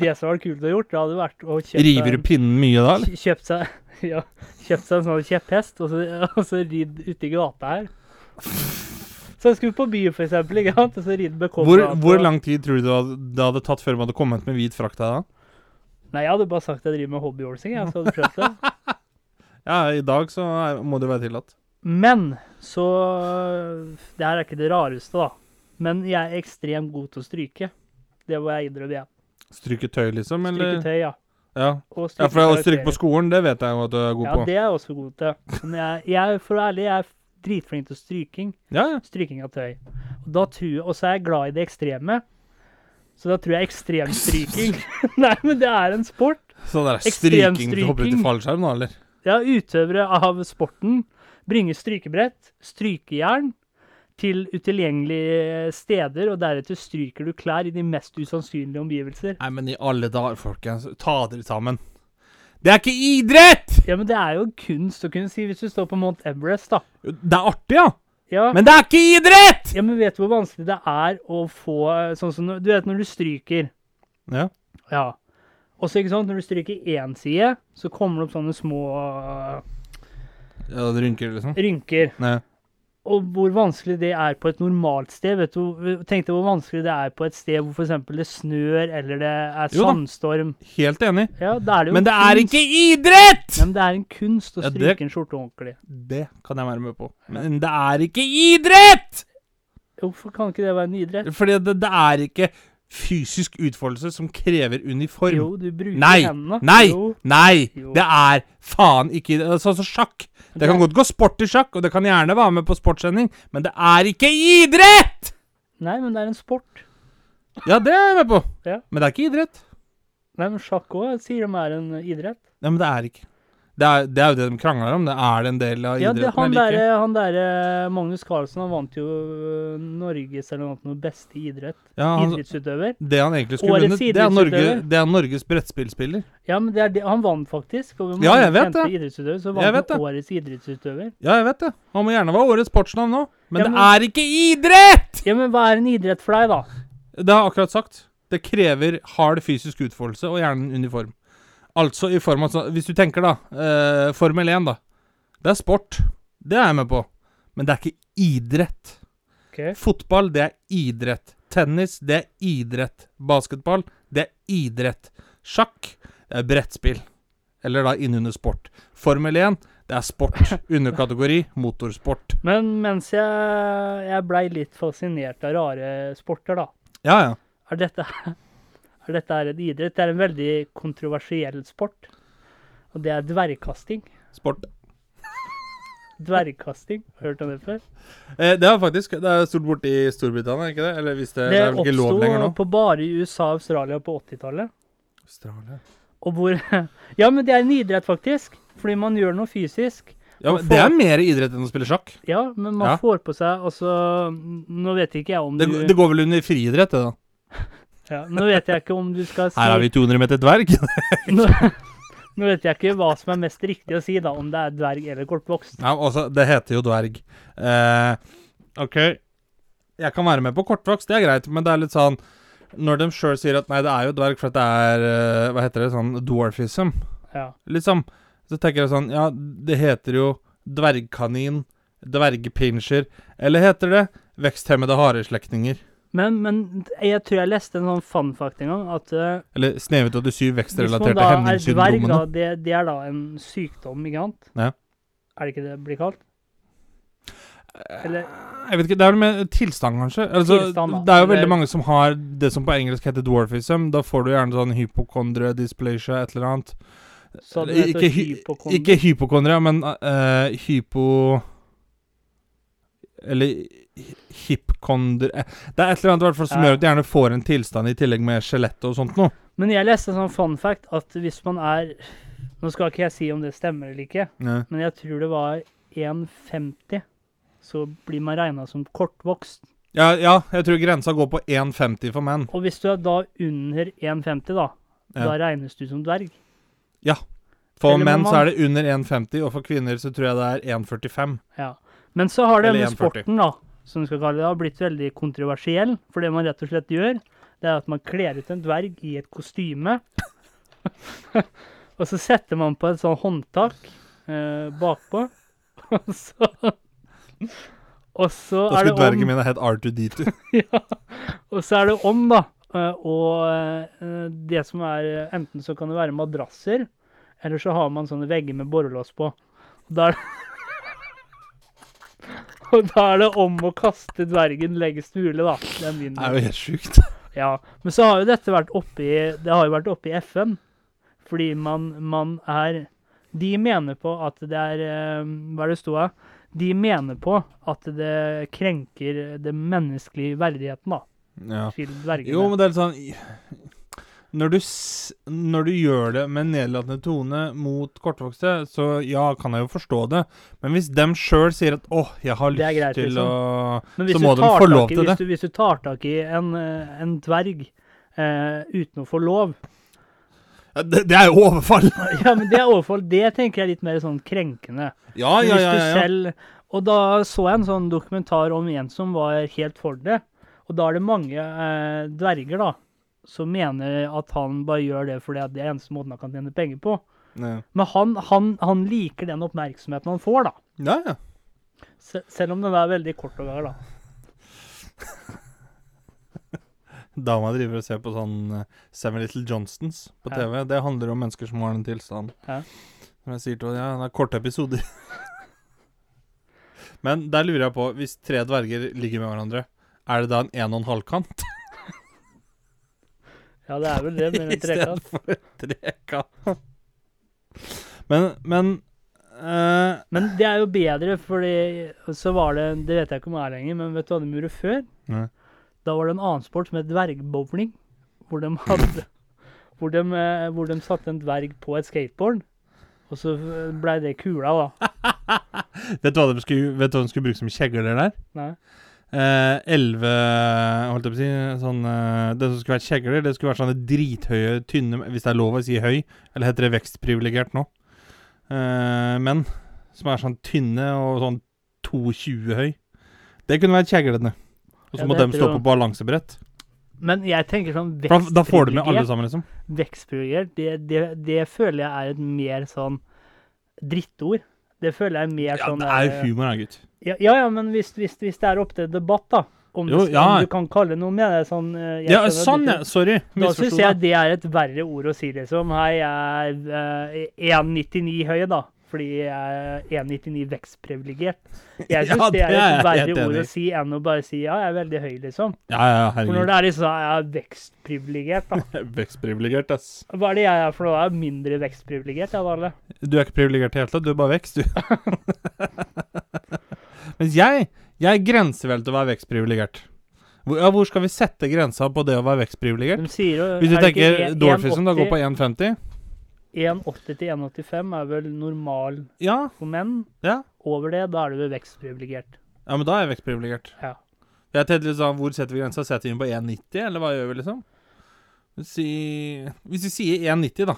B: Det som hadde vært kult å gjort, det hadde vært å kjøpe
A: River du pinnen mye da, eller?
B: kj- kjøpt seg, ja, kjøpt seg en sånn kjepphest, og så, og så ridd ute i gata her. Så jeg skulle på byen, for eksempel, ikke sant? og så ridd med
A: Hvor,
B: kobra på-
A: hvor lang tid tror du det hadde, det hadde tatt før man hadde kommet med hvit frakt her da?
B: Nei, jeg hadde bare sagt at jeg driver med hobbyhorsing, jeg, så hadde jeg prøvd det.
A: Ja, i dag så er, må det være tillatt.
B: Men så Det her er ikke det rareste, da. Men jeg er ekstremt god til å stryke. Det må jeg innrømme. jeg.
A: Stryke tøy, liksom? Eller?
B: Stryke tøy, ja.
A: Ja.
B: Og
A: ja, for å
B: karakterer.
A: stryke på skolen, det vet jeg jo at du er god
B: Ja,
A: på.
B: det er jeg også god til. Men jeg, jeg for å være ærlig, jeg er dritflink til stryking.
A: Ja, ja.
B: Stryking av tøy. Og da tror jeg, og så er jeg glad i det ekstreme. Så da tror jeg ekstremstryking Nei, men det er en sport.
A: Sånn der
B: Ekstrem
A: stryking du hopper ut i
B: stryking.
A: fallskjerm nå, eller?
B: Ja, utøvere av sporten bringer strykebrett, strykejern, til utilgjengelige steder, og deretter stryker du klær i de mest usannsynlige omgivelser.
A: Nei, men i alle dager, folkens. Ta dere sammen. Det er ikke idrett!
B: Ja, men det er jo kunst å kunne si, hvis du står på Mount Everest, da.
A: Jo, Det er artig, ja.
B: Ja,
A: Men det er ikke idrett!
B: ja, men vet du hvor vanskelig det er å få sånn som Du vet når du stryker,
A: Ja.
B: ja. Og så, ikke sant, når du stryker én side, så kommer det opp sånne små øh,
A: ja det rynker, liksom.
B: rynker.
A: Nei.
B: Og hvor vanskelig det er på et normalt sted. vet du, Tenk deg hvor vanskelig det er på et sted hvor f.eks. det snør eller det er
A: Jo da.
B: sandstorm.
A: Helt enig.
B: Ja, da er det jo
A: Men det er
B: kunst.
A: ikke idrett!
B: Nei, men det er en kunst å
A: Ja, det-
B: stryke en skjorte ordentlig.
A: Det kan jeg være med på. Men det er ikke idrett!
B: Hvorfor kan ikke det være en idrett?
A: Fordi det, det er ikke fysisk utfoldelse som krever uniform.
B: Jo, du bruker
A: Nei,
B: hendene.
A: nei,
B: Jo,
A: nei!
B: Jo.
A: Det er faen ikke det er Sånn som sjakk. Det kan
B: Det-
A: godt gå sport i sjakk, og det kan gjerne være med på sportssending, men det er ikke idrett!
B: nei, men det er en sport.
A: Ja, det er jeg med på.
B: Ja.
A: Men det er ikke idrett.
B: Nei, men sjakk òg sier de er en idrett.
A: Nei, men det er ikke. Det er, det er jo det de krangler om. Det er det en del av
B: Ja, det,
A: idretten
B: han
A: eller ikke.
B: derre han derre Magnus Carlsen han vant jo øh, Norges eller noe annet, beste idrett.
A: Ja, han,
B: Idrettsutøver.
A: det han egentlig skulle
B: Årets
A: vunnet, det, er Norge,
B: idrettsutøver.
A: det er Norges brettspillspiller.
B: Ja, men det er det, han vant faktisk. Og
A: Ja, jeg vet
B: det. Idrettsutøver, så
A: Jeg
B: vant
A: vet
B: han årets idrettsutøver.
A: Ja, jeg vet det. Han må gjerne være årets sportsnavn nå. Men,
B: Ja, men-
A: det er ikke idrett!
B: Ja, men hva er en idrett for deg, da?
A: Det har jeg akkurat sagt. Det krever hard fysisk utfoldelse og gjerne en uniform. Altså i form av sånn Hvis du tenker, da. eh, Formel 1, da. Det er sport. Det er jeg med på. Men det er ikke idrett. Fotball, det er idrett. Tennis, det er idrett. Basketball, det er idrett. Sjakk, det er brettspill. Eller da innunder sport. Formel 1, det er sport. Underkategori motorsport.
B: Men mens jeg, jeg blei litt fascinert av rare sporter, da.
A: Ja, ja.
B: Er dette, er dette her en idrett? Det er en veldig kontroversiell sport. Og det er dvergkasting.
A: Sport.
B: Dvergkasting. Hørt om det før?
A: Eh, det er faktisk det er stort borte i Storbritannia, ikke det? Eller hvis det, det
B: Det
A: er vel ikke lov lenger
B: oppsto
A: nå?
B: på bare i USA og Australia på 80-tallet.
A: Australia.
B: Og hvor Ja, men det er en idrett, faktisk. Fordi man gjør noe fysisk.
A: Ja, men Det er mer idrett enn å spille sjakk.
B: Ja, men man
A: Ja.
B: får på seg Altså, nå vet ikke jeg om
A: Det,
B: du
A: det går vel under friidrett, det, da.
B: ja, Nå vet jeg ikke om du skal si
A: Her er vi 200 meter dverg.
B: nå, nå vet jeg ikke hva som er mest riktig å si, da. Om det er dverg eller kortvokst.
A: Ja, altså, det heter jo dverg. Eh, OK. Jeg kan være med på kortvokst, det er greit, men det er litt sånn Når de sjøl sier at nei, det er jo dverg for at det er eh, Hva heter det? Sånn dwarfism,
B: Ja.
A: liksom. Så tenker jeg sånn Ja, det heter jo dvergkanin, dvergpinsjer, eller heter det veksthemmede hareslektninger?
B: Men, men jeg tror jeg leste en sånn fun fact en gang, at eh,
A: Eller Snehvit og de syv
B: hvis man
A: vekstrelaterte
B: da er dverg, da,
A: hemningssyndromene.
B: det, det er da en sykdom, ikke sant?
A: Ja.
B: Er det ikke det det blir kalt? Eller
A: Jeg vet ikke, Det er vel med tilstand, kanskje? Altså,
B: Tilstand, da.
A: det er jo
B: Eller-
A: veldig mange som har det som på engelsk heter dwarfism. Da får du gjerne sånn hypokondre, dysplasia, et eller annet.
B: så det
A: Eller
B: heter
A: hy-
B: hypokondri-
A: ikke hypokondria, men eh, hypo... Eller hi- hipkondre Det er et eller annet i hvert fall som
B: Ja.
A: gjør at du gjerne får en tilstand i tillegg med skjelettet og sånt noe.
B: Men jeg leste en sånn fun fact at hvis man er Nå skal ikke jeg si om det stemmer eller ikke, men jeg tror det var 1,50, så blir man regna som kortvokst.
A: Ja, ja, jeg tror grensa går på 1,50 for menn.
B: Og hvis du er da under 1,50, da, da
A: Ja.
B: regnes du som dverg.
A: For
B: Eller med
A: menn så
B: mann.
A: er det under 1,50, og for kvinner så tror jeg det er 1,45.
B: Ja. Men så har
A: Eller
B: denne
A: 1,40.
B: sporten, da, som vi skal kalle det, har blitt veldig kontroversiell. For det man rett og slett gjør, det er at man kler ut en dverg i et kostyme. og så setter man på et sånn håndtak eh, bakpå. Og så Og så
A: Da skulle
B: er det om
A: dvergen min ha hett R2D2.
B: ja. Og så er det om, da. eh, Og eh, det som er eh, Enten så kan det være madrasser, eller så har man sånne vegger med borrelås på. Og da er det Og da er det om å kaste dvergen lengst mulig, da. Det er min
A: Det er jo helt sjukt.
B: ja, men så har jo dette vært oppe i, det har jo vært oppe i FN, fordi man, man er, de mener på at det er, eh, hva er det stod av? De mener på at det krenker det menneskelige verdigheten da,
A: Ja.
B: til dvergene.
A: Jo, men det er litt sånn når du, s- når du gjør det med en nedlatende tone mot kortvokste, så ja, kan jeg jo forstå det. Men hvis dem sjøl sier at 'Å, jeg har
B: Det er
A: lyst
B: greit, liksom.»
A: til å
B: Men hvis
A: så
B: du
A: må de
B: tar
A: få
B: tak
A: lov
B: i-
A: til det.
B: hvis Du, hvis du tar tak i en, eh, en dverg eh, uten å få lov,
A: ja, det, det er jo overfall!
B: ja, men det er overfor, det tenker jeg er litt mer sånn krenkende.
A: Ja, ja, ja.
B: Men hvis
A: ja,
B: du
A: ja.
B: selv, og da så jeg en sånn dokumentar om en som var helt for det. Og da er det mange eh, dverger da, som mener at han bare gjør det fordi at det er eneste måten han kan tjene penger på.
A: Ja,
B: Men han, han, han liker den oppmerksomheten han får, da.
A: ja. ja.
B: Se, selv om den er veldig kort og gær, da.
A: Dama driver og ser på sånn eh, Seven Little Johnstons på
B: Ja.
A: TV. Det handler om mennesker som har den tilstanden.
B: Ja.
A: Som jeg sier til henne, ja, det er korte episoder. Men der lurer jeg på, hvis tre dverger ligger med hverandre, er det da en en og en halv kant?
B: Ja, det er vel det,
A: I
B: mer enn trekant.
A: stedet for trekant. Men, men eh,
B: Men det er jo bedre, fordi så var det Det vet jeg ikke om det er lenger, men vet du hva de gjorde før?
A: Nei.
B: Da var det en annen sport som het dvergbowling, hvor de hadde hvor de, eh, hvor de satte en dverg på et skateboard. Og så blei det kula, da.
A: Vet du hva de skulle, vet du hva de skulle bruke som kjegler der?
B: Nei.
A: Eh, Elleve Holdt jeg på å si sånn, eh, Det som skulle vært kjegler, det skulle vært sånne drithøye, tynne Hvis det er lov å si høy, eller heter det vekstprivilegert nå? Eh, menn som er sånn tynne og sånn 2,20 høy. Det kunne vært kjeglene. Og så
B: Ja,
A: må
B: det
A: de
B: heter
A: stå
B: jo-
A: på balansebrett.
B: Men jeg tenker sånn
A: For da, da får du med alle
B: vekstprivilegier-
A: sammen, liksom.
B: Vekstprivilegier, det, det, det føler jeg er et mer sånn drittord. Det føler jeg er mer
A: Ja,
B: sånn
A: det er jo
B: eh,
A: humor, da, gutt.
B: Ja, ja, ja, men hvis, hvis, hvis det er opp til debatt, da. Om,
A: Jo,
B: det-
A: ja.
B: om du kan kalle det noe med det sånn eh, jeg
A: Ja,
B: skjønner at
A: sånn,
B: du-
A: ja. Sorry.
B: Da syns
A: Misforsto
B: jeg
A: deg.
B: det er et verre ord å si, liksom. Hei, jeg er eh, 1,99 høy, da. Fordi jeg er 1,99 vekstprivilegert.
A: Ja,
B: Jeg syns
A: det
B: det er
A: er jeg
B: et
A: helt
B: verre ord
A: enig i.
B: å si enn å bare si ja, jeg er veldig høy, liksom.
A: Ja, ja,
B: For når
A: herregud.
B: det er liksom jeg er vekstprivilegert, da.
A: Vekstprivilegert, ass.
B: Hva er det jeg er for noe? Jeg er mindre vekstprivilegert, jeg, Valle.
A: Du er ikke privilegert i det hele tatt, du er bare vekst, du. Mens jeg, jeg grenser vel til å være vekstprivilegert. Hvor, ja, hvor skal vi sette grensa på det å være vekstprivilegert?
B: De sier jo
A: Hvis du
B: er det ikke
A: tenker
B: en-
A: Dorfism, da går på
B: 1,80
A: 1,50?
B: 1,80 til 1,85 er vel normal
A: Ja,
B: for menn.
A: Ja.
B: Over det, da er du vel vekstprivilegert.
A: ja, men da er jeg vekstprivilegert.
B: Ja.
A: Jeg tenkte litt sånn, Hvor setter vi grensa? Setter vi den på 1,90, eller hva gjør vi, liksom? Si, hvis vi sier 1,90, da.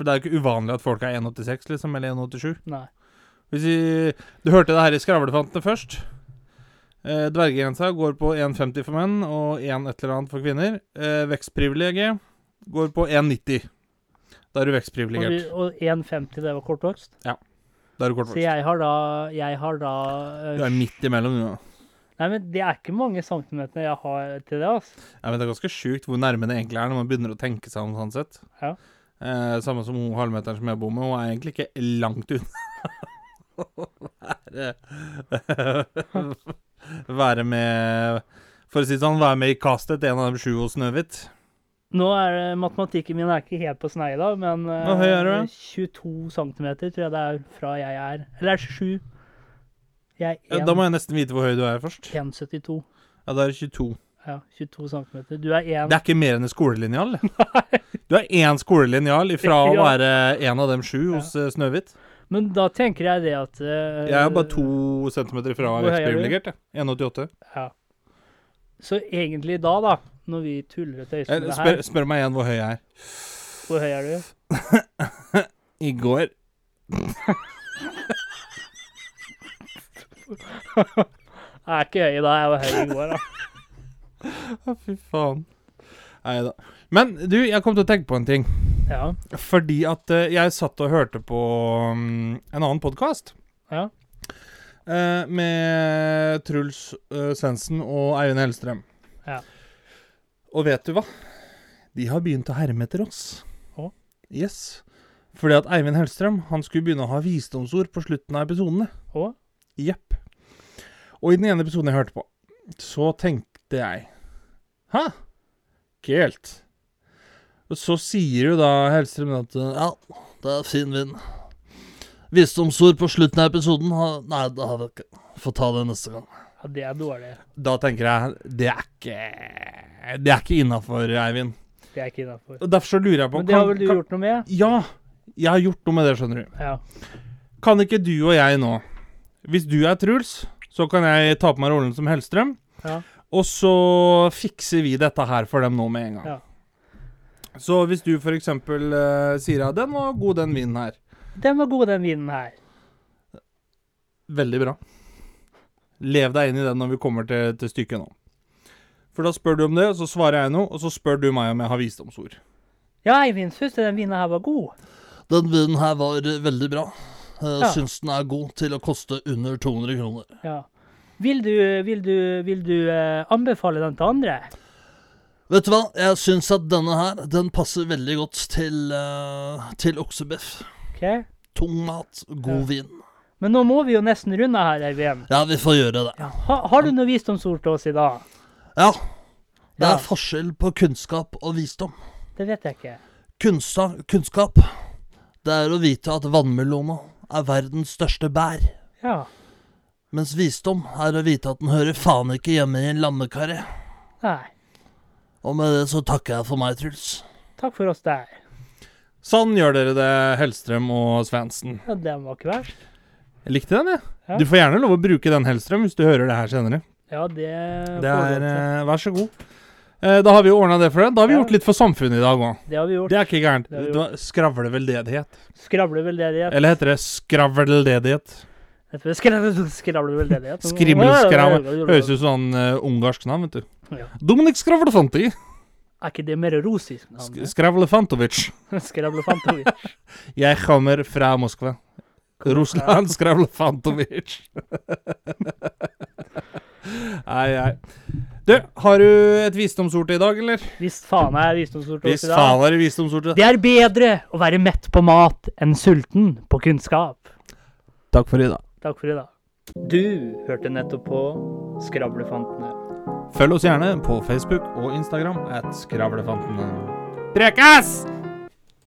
A: For det er jo ikke uvanlig at folk er 1,86, liksom, eller 1,87.
B: Nei.
A: Hvis vi, du hørte det her i Skravlefantene først. Eh, dvergegrensa går på 1,50 for menn og 1 et eller annet for kvinner. Eh, vekstprivilegiet går på 1,90. Da er du
B: Og, vi,
A: vekstprivilegert.
B: og 1,50, det var kortvokst.
A: Da er du
B: Så
A: kortvokst.
B: jeg har da, jeg har da eh,
A: Du er midt imellom, du. da.
B: Nei, men det er ikke mange centimeterne jeg har til det, altså.
A: Ja, men det er ganske sjukt hvor nærme det egentlig er når man begynner å tenke seg om sånn sett.
B: Ja.
A: Eh, samme som hun halvmeteren som jeg bor med, hun er egentlig ikke langt unna å være, være med For å si det sånn, være med i castet, en av de sju hos Snøhvit.
B: Nå er det- matematikken min er ikke helt på snei, da, men eh,
A: Hvor høy er du, da?
B: 22 centimeter tror jeg det er fra jeg er Eller er det 7? Jeg
A: Ja,
B: er
A: da må jeg nesten vite hvor høy du er først.
B: 1,72.
A: Ja, da er du 22.
B: Ja, 22 centimeter. Du er
A: Det
B: 1
A: er ikke mer enn en skolelinjal. Du er én skolelinjal ifra å
B: Ja.
A: være en av dem sju hos eh, Snøhvit.
B: Men da tenker jeg det at eh,
A: Jeg er bare to centimeter fra å være
B: Hvor høy er du?
A: vekstprivilegert. jeg. 1,88.
B: Ja. Så egentlig da, da, når vi tuller og tøyser med
A: Eh,
B: det
A: Spør,
B: her,
A: spør meg igjen hvor høy jeg er.
B: hvor høy er du?
A: I går
B: Jeg er ikke høy i dag, jeg var høy i går, da.
A: Å, fy faen. Nei da. Men du, jeg kom til å tenke på en ting.
B: Ja.
A: Fordi at eh, jeg satt og hørte på mm, en annen podkast.
B: Ja.
A: Eh, med Truls eh, Svendsen og Eivind Hellstrøm.
B: Ja.
A: Og vet du hva? De har begynt å herme etter oss.
B: Å?
A: Yes. Fordi at Eivind Hellstrøm han skulle begynne å ha visdomsord på slutten av episodene.
B: Og?
A: Jepp. Og i den ene episoden jeg hørte på, så tenkte jeg Hæ? Kult. Og så sier jo da Hellstrøm at Ja, det er fin vind.
C: Visdomsord på slutten av episoden har Nei, det har vi ikke. Får ta det neste gang.
B: Ja, det er dårlig.
A: Da tenker jeg Det er ikke Det er ikke innafor, Eivind.
B: Det er ikke innafor.
A: Og Derfor så lurer jeg på
B: Men det har vel du gjort noe med?
A: Ja. Jeg har gjort noe med det, skjønner du.
B: Ja.
A: Kan ikke du og jeg nå Hvis du er Truls, så kan jeg ta på meg rollen som Hellstrøm.
B: Ja.
A: Og så fikser vi dette her for dem nå med en gang.
B: Ja.
A: Så hvis du f.eks. Uh, sier at 'den var god, den vinen her'.
B: Den var god, den vinen her.
A: Veldig bra. Lev deg inn i den når vi kommer til, til stykket nå. For da spør du om det, og så svarer jeg noe, og så spør du meg om jeg har visdomsord.
B: Ja, Eivind syns den vinen her var god.
C: Den vinen her var eh, veldig bra. Jeg
B: Ja.
C: syns den er god til å koste under 200 kroner.
B: Ja. Vil du, vil du, vil du eh, anbefale den til andre?
C: Vet du hva, jeg syns at denne her, den passer veldig godt til, eh, til oksebiff.
B: OK?
C: Tung mat, god vin.
B: Men nå må vi jo nesten runde her, Eivind.
C: Ja, vi får gjøre det.
B: Ja. Ha, har du noe visdomsord til oss i dag?
C: Ja. Det
B: Ja.
C: er forskjell på kunnskap og visdom.
B: Det vet jeg ikke.
C: Kunsta, kunnskap, det er å vite at vannmelona er verdens største bær.
B: Ja.
C: Mens visdom er å vite at den hører faen ikke hjemme i en lammekarre.
B: Nei.
C: Og med det så takker jeg for meg, Truls.
B: Takk for oss der.
A: Sånn gjør dere det, Hellstrøm og Svansen.
B: Ja, den var ikke verst.
A: Jeg likte den, jeg.
B: Ja.
A: Du får gjerne lov å bruke den, Hellstrøm, hvis du hører det her senere.
B: Ja, det,
A: Det er, eh, Vær så god. Eh, Da har vi ordna det for deg. Da har vi
B: Ja.
A: gjort litt for samfunnet i dag òg.
B: det har vi gjort.
A: Det er ikke gærent.
B: Det har vi
A: Det var Skravleveldedighet.
B: Skravler veldedighet.
A: Eller heter det skravlededighet?
B: Jeg tror skravler- Skravler veldedighet.
A: Skrimmelskravle. Høres ut som sånn eh, ungarsk navn, vet du.
B: Ja.
A: Dominik Skravlefanti.
B: Er ikke det mer russisk
A: Sk-
B: navn?
A: Skravlefantovic.
B: Skravlefantovic.
A: Jeg kommer fra Moskva. Russland Skravlefantovic. Nei, nei. Du, har du et visdomsord til i dag, eller?
B: Hvis faen er visdomsord til oss
A: Hvis
B: i dag.
A: faen er det visdomsord til
B: Det er bedre å være mett på mat enn sulten på kunnskap.
A: Takk for i dag.
B: Takk for i dag. Du hørte nettopp på Skravlefantene.
A: Følg oss gjerne på Facebook og Instagram at Skravlefantene. Prekas!